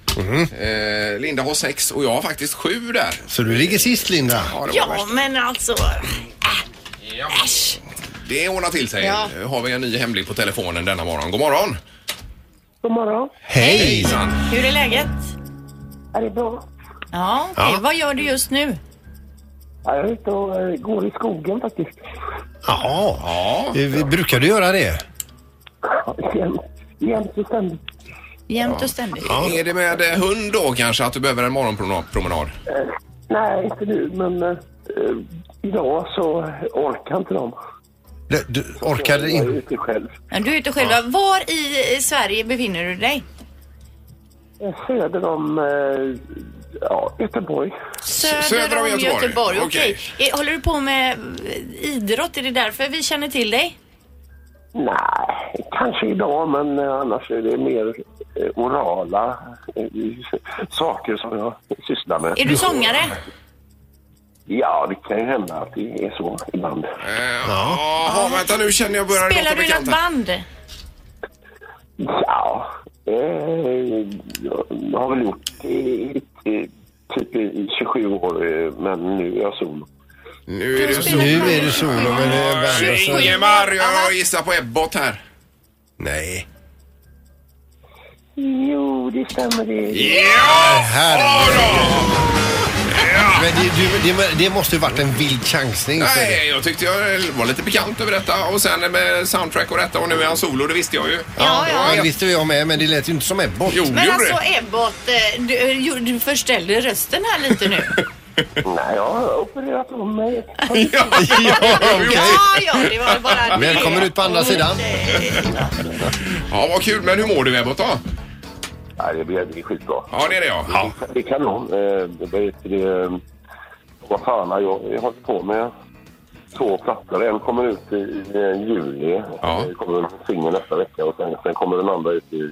[SPEAKER 6] Eh, Linda har 6 och jag har faktiskt 7 där.
[SPEAKER 7] Mhm. Så du ligger sist Linda.
[SPEAKER 6] Ja, det, var
[SPEAKER 8] Ja,
[SPEAKER 6] värst.
[SPEAKER 8] men alltså.
[SPEAKER 6] det ordnar till sig.
[SPEAKER 8] Ja.
[SPEAKER 6] Nu har vi en ny hemlig på telefonen denna morgon. God morgon!
[SPEAKER 15] God morgon.
[SPEAKER 7] Hej!
[SPEAKER 8] Hur är läget?
[SPEAKER 15] Är det bra?
[SPEAKER 8] Ja, okej.
[SPEAKER 7] Ja.
[SPEAKER 8] Vad gör du just nu?
[SPEAKER 15] Ja, jag är ute och eh, går i skogen faktiskt.
[SPEAKER 7] Jaha. Eh, vi- Brukar du göra det?
[SPEAKER 15] Jämt- Jämt och ständigt.
[SPEAKER 8] Jämt och ständigt.
[SPEAKER 6] Är det med eh, hund då kanske att du behöver en morgonpromenad?
[SPEAKER 15] Nej, inte nu, men eh, eh, idag så orkar inte de.
[SPEAKER 7] Du, du orkar
[SPEAKER 15] Jag är
[SPEAKER 7] inte?
[SPEAKER 15] ute själv.
[SPEAKER 8] Ja, Du är ute själv. Var i eh, Sverige befinner du dig?
[SPEAKER 15] Eh, Söder om eh, ja, Göteborg.
[SPEAKER 8] Söder,
[SPEAKER 15] Söder om
[SPEAKER 8] om Göteborg.
[SPEAKER 15] Göteborg.
[SPEAKER 8] Okej. Eh, Håller du på med eh, idrott? Är det därför vi känner till dig?
[SPEAKER 15] Nej, kanske idag, men eh, annars är det mer eh, orala eh, saker som jag sysslar med.
[SPEAKER 8] Är du sångare?
[SPEAKER 15] Ja, det kan ju hända att det är så ibland.
[SPEAKER 6] Jaha, Eh, vänta nu känner jag börjar
[SPEAKER 8] Spelar
[SPEAKER 6] låta
[SPEAKER 8] du i något
[SPEAKER 6] bekant här.
[SPEAKER 8] band?
[SPEAKER 15] Ja, eh, jag har väl gjort det i, i, typ i 27 år, eh, men nu är jag solo.
[SPEAKER 6] Nu är det så.
[SPEAKER 7] Nu är det solo men det är värre så-
[SPEAKER 6] Ingemar, jag gissar på Ebbot här.
[SPEAKER 7] Nej.
[SPEAKER 15] Jo, det stämmer det.
[SPEAKER 7] Herregud. Men det, du, det, det måste ju varit en vild chansning.
[SPEAKER 6] Nej, jag tyckte jag var lite bekant över detta och sen med soundtrack och detta och nu är han solo, det visste jag ju.
[SPEAKER 7] Ja,
[SPEAKER 8] ja.
[SPEAKER 7] det visste jag med, men det lät ju inte som Ebbot.
[SPEAKER 6] Jo,
[SPEAKER 8] Men alltså Ebbot, eh, du, eh, jo, du förställde rösten här lite nu.
[SPEAKER 15] Nej, jag har opererat om mig.
[SPEAKER 6] ja,
[SPEAKER 7] ja, okej.
[SPEAKER 8] Ja, ja, det var bara det.
[SPEAKER 7] Välkommen ut på andra sidan.
[SPEAKER 6] Ja, vad kul. Men hur mår du Ebbot då?
[SPEAKER 15] Nej, det blir det är skitbra.
[SPEAKER 6] Ja, det är det ja. ja.
[SPEAKER 15] Det är kanon. Eh, Vad heter det? Vad fan har jag, jag hållit på med? Två plattor. En kommer ut i, i juli. Eh,
[SPEAKER 6] Ja.
[SPEAKER 15] Det kommer en singel nästa vecka och sen, sen kommer den andra ut i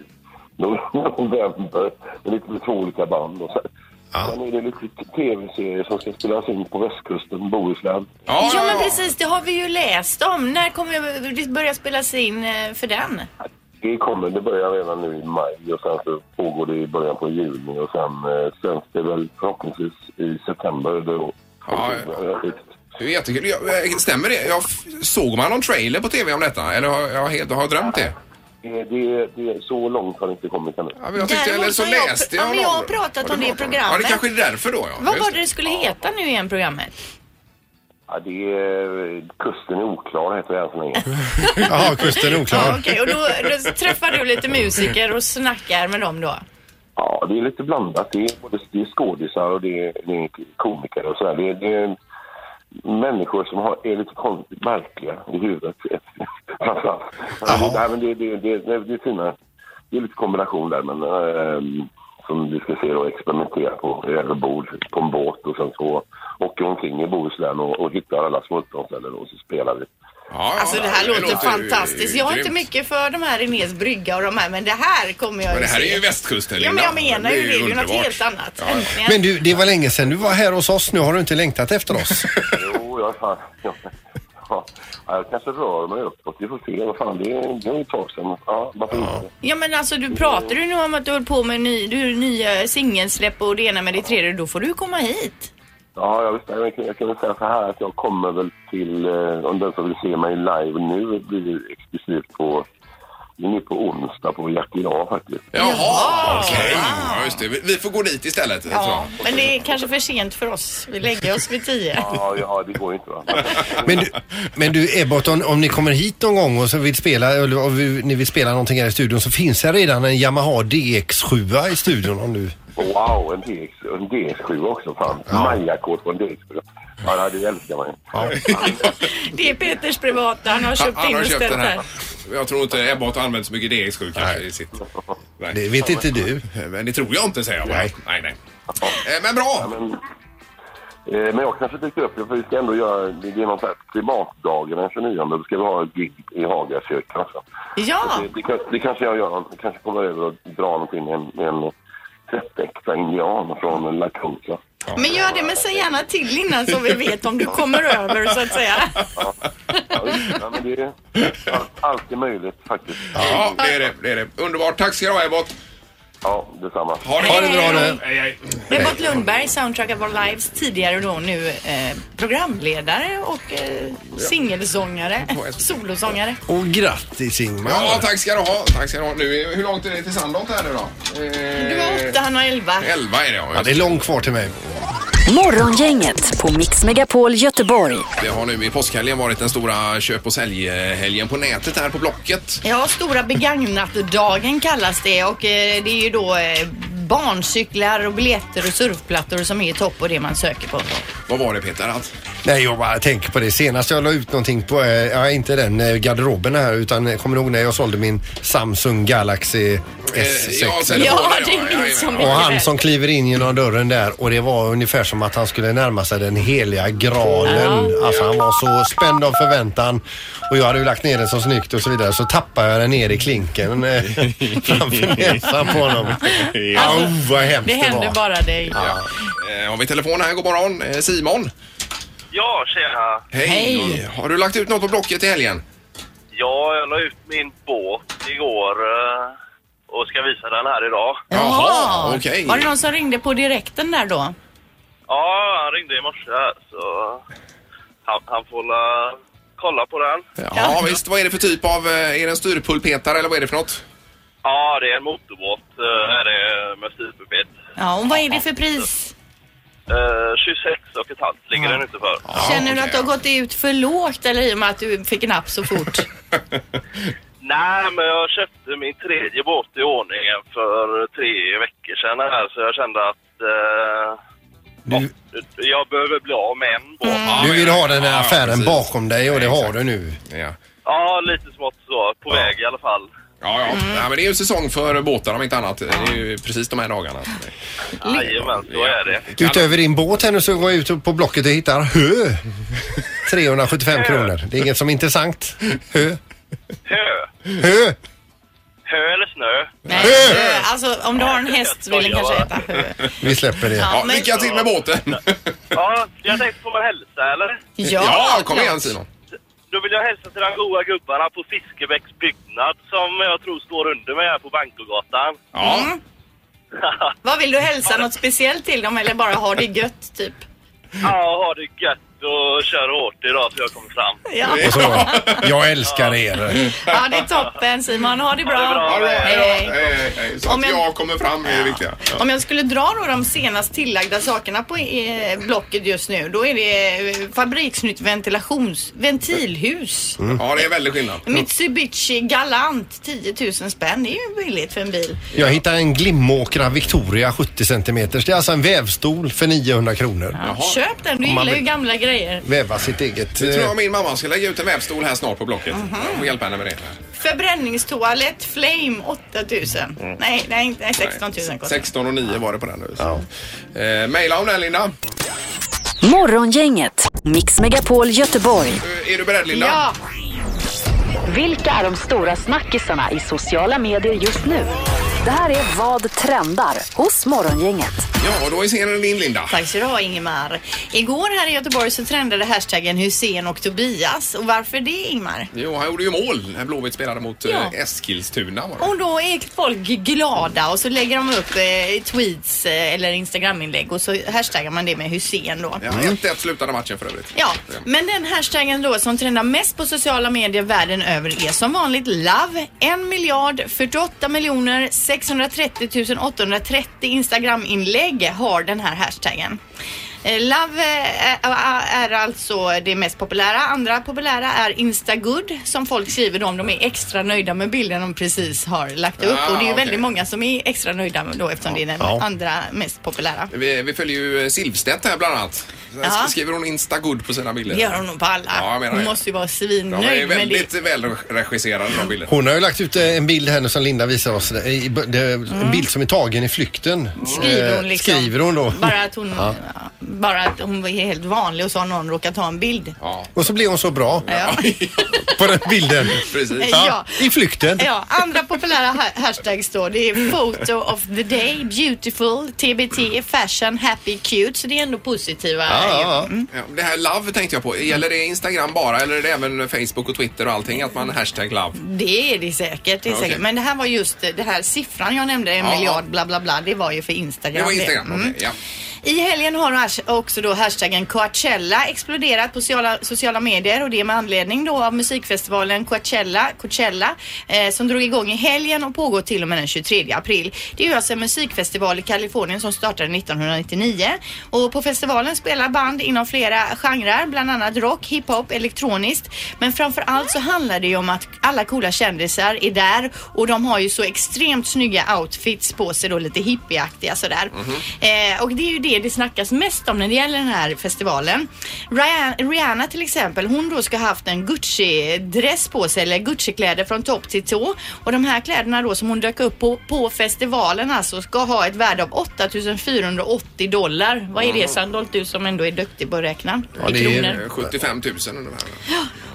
[SPEAKER 15] no- november. Det är lite med två olika band. Och sen, sen är det lite tv-serier som ska spelas in på västkusten, Bohuslän.
[SPEAKER 8] Ja, men precis. Det har vi ju läst om. När kommer eh, det börja spelas in eh, för den?
[SPEAKER 15] Det kommer, det börjar redan nu i maj och sen så pågår det i början på juni och sen eh, sänds det väl förhoppningsvis i september. Då.
[SPEAKER 6] Ja, Det är jättekul. Jag, eh, stämmer det? Jag, f- såg man någon trailer på tv om detta? Eller har jag, helt, har jag drömt det?
[SPEAKER 15] Det, det, det, så långt har det inte kommit ännu.
[SPEAKER 6] Ja, men jag tyckte,
[SPEAKER 8] Däremot
[SPEAKER 6] eller så
[SPEAKER 8] har jag-
[SPEAKER 6] läste
[SPEAKER 8] ja,
[SPEAKER 6] jag
[SPEAKER 8] men
[SPEAKER 6] någon-
[SPEAKER 8] jag har pratat
[SPEAKER 6] du
[SPEAKER 8] om det i
[SPEAKER 6] pratat Ja, det
[SPEAKER 8] programmet.
[SPEAKER 6] kanske är därför då. Ja.
[SPEAKER 8] Vad
[SPEAKER 6] Just
[SPEAKER 8] var det det skulle heta nu igen programmet?
[SPEAKER 15] Ja, det är, kusten är oklar heter det än så länge.
[SPEAKER 7] Ja, kusten är oklar.
[SPEAKER 8] Ja, okej, och då, då träffar du lite musiker och snackar med dem då?
[SPEAKER 15] Ja, det är lite blandat. Det är, både, det är skådisar och det är, det är komiker och sådär. Det är, det är människor som har, är lite konstigt märkliga i huvudet. Framförallt. Det, nej, men det, det, det, det, det är fina. Det är lite kombination där, men ehm, som du ska se då, experimentera på över bord på en båt och sen så åker omkring i Bohuslän och, och hittar alla smultronställen och så spelar vi.
[SPEAKER 8] Alltså det här låter fantastiskt. Jag har inte mycket för de här Renés brygga och de här, men det här kommer jag
[SPEAKER 6] Men det här
[SPEAKER 8] se.
[SPEAKER 6] är ju västkusten,
[SPEAKER 8] Ja, men
[SPEAKER 6] Linda.
[SPEAKER 8] jag menar ju det. Det är ju något
[SPEAKER 6] underbart.
[SPEAKER 8] helt annat.
[SPEAKER 6] Ja,
[SPEAKER 8] Äntligen.
[SPEAKER 7] Men du, det var länge sedan du var här hos oss. Nu har du inte längtat efter oss.
[SPEAKER 15] Jo, jag, fan, jag, ja, jag kanske rör mig uppåt. Vi får se. Vad fan, det är det är ju ett tag sedan. Ja, varför inte?
[SPEAKER 8] Ja men alltså du pratar ju nu om att du håller på med ny, du, nya singelsläpp och det ena med det tredje. Då får du komma hit.
[SPEAKER 15] Ja, jag, visst, jag, kan, jag kan väl säga så här att jag kommer väl till, eh, om den som vill se mig live nu, blir det exklusivt på, det är nu på onsdag på Jackie A faktiskt.
[SPEAKER 6] Jaha, okej. Ja, just det. Vi- Vi får gå dit istället. tror jag.
[SPEAKER 8] Men det är kanske för sent för oss. Vi lägger oss vid tio.
[SPEAKER 15] Ja, ja, det går ju inte va?
[SPEAKER 7] Men du, men du Ebbot, om, om ni kommer hit någon gång och så vill spela, eller om vi- ni vill spela någonting här i studion så finns det redan en Yamaha DX7 i studion om du...
[SPEAKER 15] Wow, en, DX, en DX7 också. Fan, Majakort på en DX7. Ja, nej, det älskar man ju.
[SPEAKER 8] Det är Peters privata. Han har
[SPEAKER 6] Han
[SPEAKER 8] köpt
[SPEAKER 6] han
[SPEAKER 8] in
[SPEAKER 6] har
[SPEAKER 8] och
[SPEAKER 6] köpt
[SPEAKER 8] ställt
[SPEAKER 6] den här.
[SPEAKER 8] här.
[SPEAKER 6] Jag tror inte Ebbot har använt så mycket DX7 kanske i sitt... Nej.
[SPEAKER 7] Det vet inte du.
[SPEAKER 6] Men det tror jag inte säger jag bara. Nej, nej. Eh, Men bra!
[SPEAKER 15] Men,
[SPEAKER 16] Eh, Men jag kanske dyker upp, för vi ska ändå göra, det är någon slags klimatdagen den 29, då ska vi ha ett gig i Hagakyrkan. så.
[SPEAKER 8] Ja!
[SPEAKER 16] Det, det, kan- det kanske jag gör, jag kanske kommer över och drar någonting med en, med en tvättäkta indian från Lakosa.
[SPEAKER 8] Men gör det, men säg gärna till innan så vi vet om du kommer över så att säga.
[SPEAKER 16] Ja, men det är all- alltid möjligt faktiskt.
[SPEAKER 6] Ja, det är det. det, är det. Underbart. Tack ska du ha, Ebbot.
[SPEAKER 16] Ja, detsamma.
[SPEAKER 6] Ha det,
[SPEAKER 8] Ha det bra nu.
[SPEAKER 6] Hej, hej.
[SPEAKER 8] Ebbot Lundberg, Soundtrack of Our Lives, tidigare då nu eh, programledare och eh, singelsångare, solosångare.
[SPEAKER 7] Och grattis Ingmar.
[SPEAKER 6] Ja, tack ska du ha. Tack ska du ha. Nu, är- hur långt är det till Sandholt här nu då? Eh,
[SPEAKER 8] Du var åtta, han var elva.
[SPEAKER 6] elva är det ja.
[SPEAKER 7] Ja, det är långt kvar till mig.
[SPEAKER 4] Morgongänget på Mix Megapol Göteborg.
[SPEAKER 6] Det har nu i påskhelgen varit den stora köp och säljhelgen på nätet här på Blocket.
[SPEAKER 8] Ja, stora begagnatdagen kallas det och eh, det är ju då eh, barncyklar och biljetter och surfplattor som är topp och det man söker på.
[SPEAKER 6] Vad var det Peter? Att...
[SPEAKER 7] Nej, jag bara tänker på det. Senast jag la ut någonting på, eh, ja inte den eh, garderoben här, utan eh, kommer du ihåg när jag sålde min Samsung Galaxy S6?
[SPEAKER 6] Eh, ja,
[SPEAKER 7] eller?
[SPEAKER 6] telefonen, Ja, det ja, minns ja, ja. jag mycket
[SPEAKER 7] Och han
[SPEAKER 6] väl.
[SPEAKER 7] som kliver in genom dörren där och det var ungefär som att han skulle närma sig den heliga graalen. Alltså han var så spänd av förväntan och jag hade ju lagt ner den så snyggt och så vidare så tappade jag den ner i klinken eh, framför näsan på honom. Ja, oh, vad hemskt
[SPEAKER 8] Alltså, Det
[SPEAKER 7] det,
[SPEAKER 8] händer
[SPEAKER 7] var.
[SPEAKER 8] bara dig.
[SPEAKER 6] Ja. Eh, har vi telefon här? God morgon. Eh, Simon.
[SPEAKER 17] Ja, tjena.
[SPEAKER 6] Hej. Har du lagt ut något på Blocket i helgen?
[SPEAKER 17] Ja, jag la ut min båt igår eh, och ska visa den här idag.
[SPEAKER 8] Jaha,
[SPEAKER 17] okej.
[SPEAKER 8] Var det någon som ringde på direkten där då?
[SPEAKER 17] Ja, han ringde i morse här så han, han får la kolla på den.
[SPEAKER 6] Ja, visst. Vad är det för typ av... eh, Är det en styrpulpetare eller vad är det för något?
[SPEAKER 17] Ja, det är en motorbåt eh, är det med styrpipet.
[SPEAKER 8] Ja, och vad är det för pris?
[SPEAKER 17] Eh, 26 och ett halvt ligger den ute för.
[SPEAKER 8] Känner du att du har gått ut för lågt eller i och med att du fick en app så fort?
[SPEAKER 17] Nej, men jag köpte min tredje båt i ordningen för tre veckor sedan här så jag kände att eh,
[SPEAKER 7] Du,
[SPEAKER 17] jag behöver bli av med en båt.
[SPEAKER 8] Mm.
[SPEAKER 7] du vill ha den här affären bakom dig och det har du nu.
[SPEAKER 6] Ja.
[SPEAKER 17] Ja, lite smått så. På väg i alla fall.
[SPEAKER 6] Ja, ja.
[SPEAKER 8] Mm.
[SPEAKER 6] ja, men det är ju säsong för båtar om inte annat. Det är ju precis de här dagarna.
[SPEAKER 17] Jajamän, så är det.
[SPEAKER 7] Utöver din båt här nu så går jag ut på Blocket och hittar hö. 375 kronor. Det är inget som är intressant. Hö.
[SPEAKER 17] Hö.
[SPEAKER 7] Hö.
[SPEAKER 17] Hö eller snö?
[SPEAKER 8] Nej, eh, alltså om du har en häst vill den kanske äta hö.
[SPEAKER 7] Vi släpper det.
[SPEAKER 8] Ja, men- lycka till med
[SPEAKER 6] båten!
[SPEAKER 17] ja, jag tänkte, får man hälsa eller?
[SPEAKER 8] Ja, Ja, kom igen, klart.
[SPEAKER 6] Simon.
[SPEAKER 17] Då vill jag hälsa till de goa gubbarna på Fiskebäcks byggnad som jag tror står under mig här på Bankogatan.
[SPEAKER 6] Ja.
[SPEAKER 8] Mm. Vad vill du hälsa något speciellt till dem eller bara ha det gött typ?
[SPEAKER 17] ja, ha det gött och kör hårt idag så jag kommer fram.
[SPEAKER 8] Ja.
[SPEAKER 7] Och så, jag älskar er.
[SPEAKER 8] Ja, det är toppen Simon. Ha det bra.
[SPEAKER 6] Ha det bra.
[SPEAKER 8] Hej, hej.
[SPEAKER 6] Hej, hej, hej. Eh, Så
[SPEAKER 8] Om
[SPEAKER 6] att
[SPEAKER 8] jag-
[SPEAKER 6] jag kommer fram är det viktiga. Ja.
[SPEAKER 8] Om jag skulle dra då de senast tillagda sakerna på eh, blocket just nu, då är det eh, fabriksnytt ventilations... ventilhus.
[SPEAKER 6] Ja, det är väldigt skillnad.
[SPEAKER 8] Mitsubishi Galant 10 000 spänn. Det är ju billigt för en bil.
[SPEAKER 7] Jag hittade en Glimåkra Victoria 70 cm. Det är alltså en vävstol för 900 kronor.
[SPEAKER 8] Köp den, du
[SPEAKER 7] Om man
[SPEAKER 8] gillar ju
[SPEAKER 7] vill-
[SPEAKER 8] gamla grejer.
[SPEAKER 7] Väva sitt eget.
[SPEAKER 6] Det tror
[SPEAKER 7] eh,
[SPEAKER 6] jag min mamma ska lägga ut en vävstol här snart på Blocket. Jag får hjälpa henne med det.
[SPEAKER 8] Förbränningstoalett Flame 8 000. Nej, nej, inte 16 000 kostar
[SPEAKER 6] 16 och 9 var det på den. nu, så. Eh, Maila om den Linda.
[SPEAKER 4] Morgongänget, Mix Megapol Göteborg.
[SPEAKER 6] Eh, Är du beredd Linda?
[SPEAKER 4] Ja. Vilka är de stora snackisarna i sociala medier just nu? Det här är Vad trendar hos Morgongänget.
[SPEAKER 6] Ja, och då är scenen din Linda.
[SPEAKER 8] Tack så du ha Ingemar. Igår här i Göteborg så trendade hashtaggen Hussein och Tobias. Och varför det Ingemar?
[SPEAKER 6] Jo, han gjorde ju mål när Blåvitt spelade mot eh, Eskilstuna. Var det.
[SPEAKER 8] Och då är folk glada och så lägger de upp eh, tweets eh, eller instagraminlägg och så hashtaggar man det med Hussein då.
[SPEAKER 6] Ja, 1-1 slutade matchen för övrigt.
[SPEAKER 8] Ja, men den hashtaggen då som trendar mest på sociala medier världen över är som vanligt love. 1 miljard 48 miljoner 630 830 Instagram-inlägg har den här hashtaggen. Eh, Love eh, eh, är alltså det mest populära. Andra populära är Instagood som folk skriver då om de är extra nöjda med bilden de precis har lagt upp.
[SPEAKER 6] Ah,
[SPEAKER 8] och det är ju
[SPEAKER 6] okej.
[SPEAKER 8] väldigt många som är extra nöjda då eftersom det är den
[SPEAKER 6] Ja.
[SPEAKER 8] andra mest populära.
[SPEAKER 6] Vi, vi följer ju eh, Silvstedt här bland annat. Sen
[SPEAKER 8] Ja.
[SPEAKER 6] Skriver hon Instagood på sina bilder?
[SPEAKER 8] Det gör hon nog på alla.
[SPEAKER 6] Ja, jag menar
[SPEAKER 8] hon
[SPEAKER 6] det.
[SPEAKER 8] måste ju vara
[SPEAKER 6] De är
[SPEAKER 8] svinnöjd med det.
[SPEAKER 6] väldigt välregisserade de bilderna.
[SPEAKER 7] Hon har ju lagt ut eh, en bild här nu som Linda visar oss. Eh, Det är- det är En bild som är tagen i flykten.
[SPEAKER 8] Mm. Skriver hon
[SPEAKER 7] Eh,
[SPEAKER 8] liksom.
[SPEAKER 7] Skriver hon då.
[SPEAKER 8] Bara att hon-
[SPEAKER 7] Ja.
[SPEAKER 8] bara att hon var helt vanlig och så har någon råkat ta en bild.
[SPEAKER 7] Och så blir hon så bra
[SPEAKER 8] Ja.
[SPEAKER 7] på den bilden.
[SPEAKER 6] Precis.
[SPEAKER 7] Ja, I flykten.
[SPEAKER 8] Ja, andra populära ha- hashtags då det är photo of the day, beautiful, TBT, fashion, happy, cute. Så det är ändå positiva. Mm.
[SPEAKER 6] Ja, Det här love tänkte jag på. Gäller det Instagram bara eller är det även Facebook och Twitter och allting? Att man hashtag love?
[SPEAKER 8] Det är det säkert. Det är
[SPEAKER 6] Ja, okej.
[SPEAKER 8] säkert. Men det här var just eh, det här siffran jag nämnde, en
[SPEAKER 6] Ja.
[SPEAKER 8] miljard bla bla bla. Det var ju för Instagram.
[SPEAKER 6] Det var Instagram,
[SPEAKER 8] Mm.
[SPEAKER 6] okej. ja.
[SPEAKER 8] I helgen har hash- också då hashtaggen Coachella exploderat på sociala, sociala medier och det med anledning då av musikfestivalen Coachella, Coachella eh, som drog igång i helgen och pågår till och med den 23 april. Det är ju alltså en musikfestival i Kalifornien som startade 1999 och på festivalen spelar band inom flera genrer, bland annat rock, hiphop, elektroniskt. Men framför allt så handlar det ju om att alla coola kändisar är där och de har ju så extremt snygga outfits på sig då lite hippieaktiga sådär. Eh, och det är ju det det snackas mest om när det gäller den här festivalen. Rihanna, Rihanna till exempel, hon då ska ha haft en Gucci-dress på sig, eller Gucci-kläder från topp till tå. Och de här kläderna då som hon dök upp på, på festivalen alltså ska ha ett värde av 8480 dollar. Vad är det Sandholt, du som ändå är duktig på att räkna? I kronor.
[SPEAKER 6] 75 000 ungefär.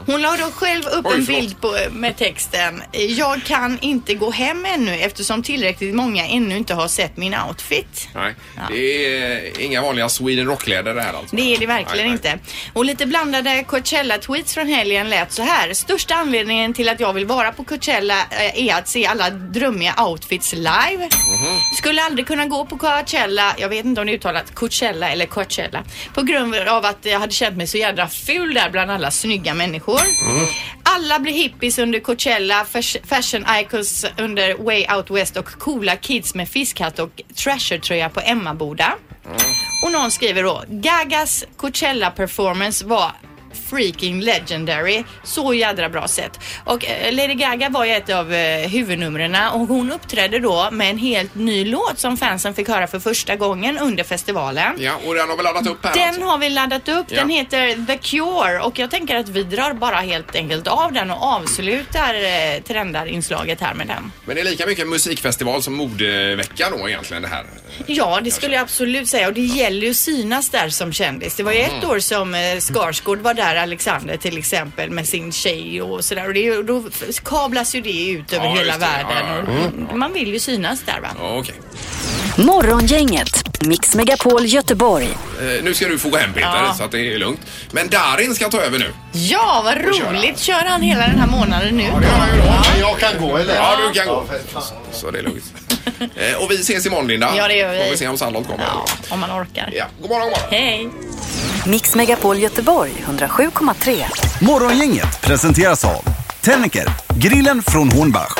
[SPEAKER 8] Hon la då själv upp
[SPEAKER 6] Oj,
[SPEAKER 8] en
[SPEAKER 6] förlåt.
[SPEAKER 8] bild på, med texten Jag kan inte gå hem ännu eftersom tillräckligt många ännu inte har sett min outfit.
[SPEAKER 6] Nej, det är inga vanliga Sweden Rock-kläder det här alltså.
[SPEAKER 8] Det är det verkligen
[SPEAKER 6] Nej,
[SPEAKER 8] inte. Och lite blandade Coachella-tweets från helgen lät så här. Största anledningen till att jag vill vara på Coachella eh, är att se alla drömmiga outfits live.
[SPEAKER 4] Mhm. Mm-hmm.
[SPEAKER 8] Skulle aldrig kunna gå på Coachella, jag vet inte om det är uttalat Coachella eller Coachella, på grund av att jag hade känt mig så jädra ful där bland alla snygga människor.
[SPEAKER 18] Mm.
[SPEAKER 8] Alla blir hippies under Coachella, fas- fashion icons under Way Out West och coola kids med fiskhatt och trasher-tröja på Emmaboda. Och någon skriver då, Gagas Coachella performance var freaking legendary. Så jädra bra sett. Och eh, Lady Gaga var ju ett av eh, huvudnumren och hon uppträdde då med en helt ny låt som fansen fick höra för första gången under festivalen.
[SPEAKER 6] Ja, och den har vi laddat upp här
[SPEAKER 8] Den
[SPEAKER 6] alltså.
[SPEAKER 8] har vi laddat upp. Den
[SPEAKER 6] Ja.
[SPEAKER 8] heter The Cure och jag tänker att vi drar bara helt enkelt av den och avslutar eh, trendarinslaget här med den.
[SPEAKER 6] Men det är lika mycket musikfestival som modevecka då egentligen det här.
[SPEAKER 8] Ja, det skulle jag absolut säga. Och det gäller ju att synas där som kändis. Det var ju ett
[SPEAKER 6] Mm.
[SPEAKER 8] år som eh, Skarsgård var där, Alexander till exempel, med sin tjej och sådär. Och det, är ju- då f- kablas ju det ut över
[SPEAKER 4] Ja,
[SPEAKER 8] hela
[SPEAKER 4] just det.
[SPEAKER 8] världen.
[SPEAKER 4] Ja,
[SPEAKER 8] Och
[SPEAKER 4] ja, ja.
[SPEAKER 8] mm, Man vill ju synas där va.
[SPEAKER 6] Ja, okej.
[SPEAKER 4] Morgongänget, Mix Megapol Göteborg.
[SPEAKER 6] Eh, nu ska du få gå hem Peter,
[SPEAKER 8] Ja.
[SPEAKER 6] så att det är lugnt. Men Darin ska ta över nu.
[SPEAKER 8] Ja, vad roligt! Kör han hela den här månaden nu?
[SPEAKER 7] Jag kan gå eller?
[SPEAKER 6] Ja, du kan gå. Så det är lugnt. Eh, och vi ses imorgon Linda.
[SPEAKER 8] Ja, det gör vi.
[SPEAKER 6] Får vi se om Sandholt kommer.
[SPEAKER 8] Om man orkar.
[SPEAKER 6] Ja, god morgon, god morgon.
[SPEAKER 8] Hej!
[SPEAKER 4] Mix Megapol Göteborg 107,3.
[SPEAKER 5] Morgongänget presenteras av Tennicker, grillen från Hornbach.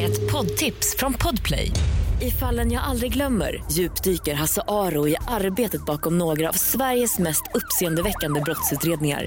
[SPEAKER 18] Ett poddtips från Podplay. I fallen jag aldrig glömmer djupdyker Hasse Aro i arbetet bakom några av Sveriges mest uppseendeväckande brottsutredningar.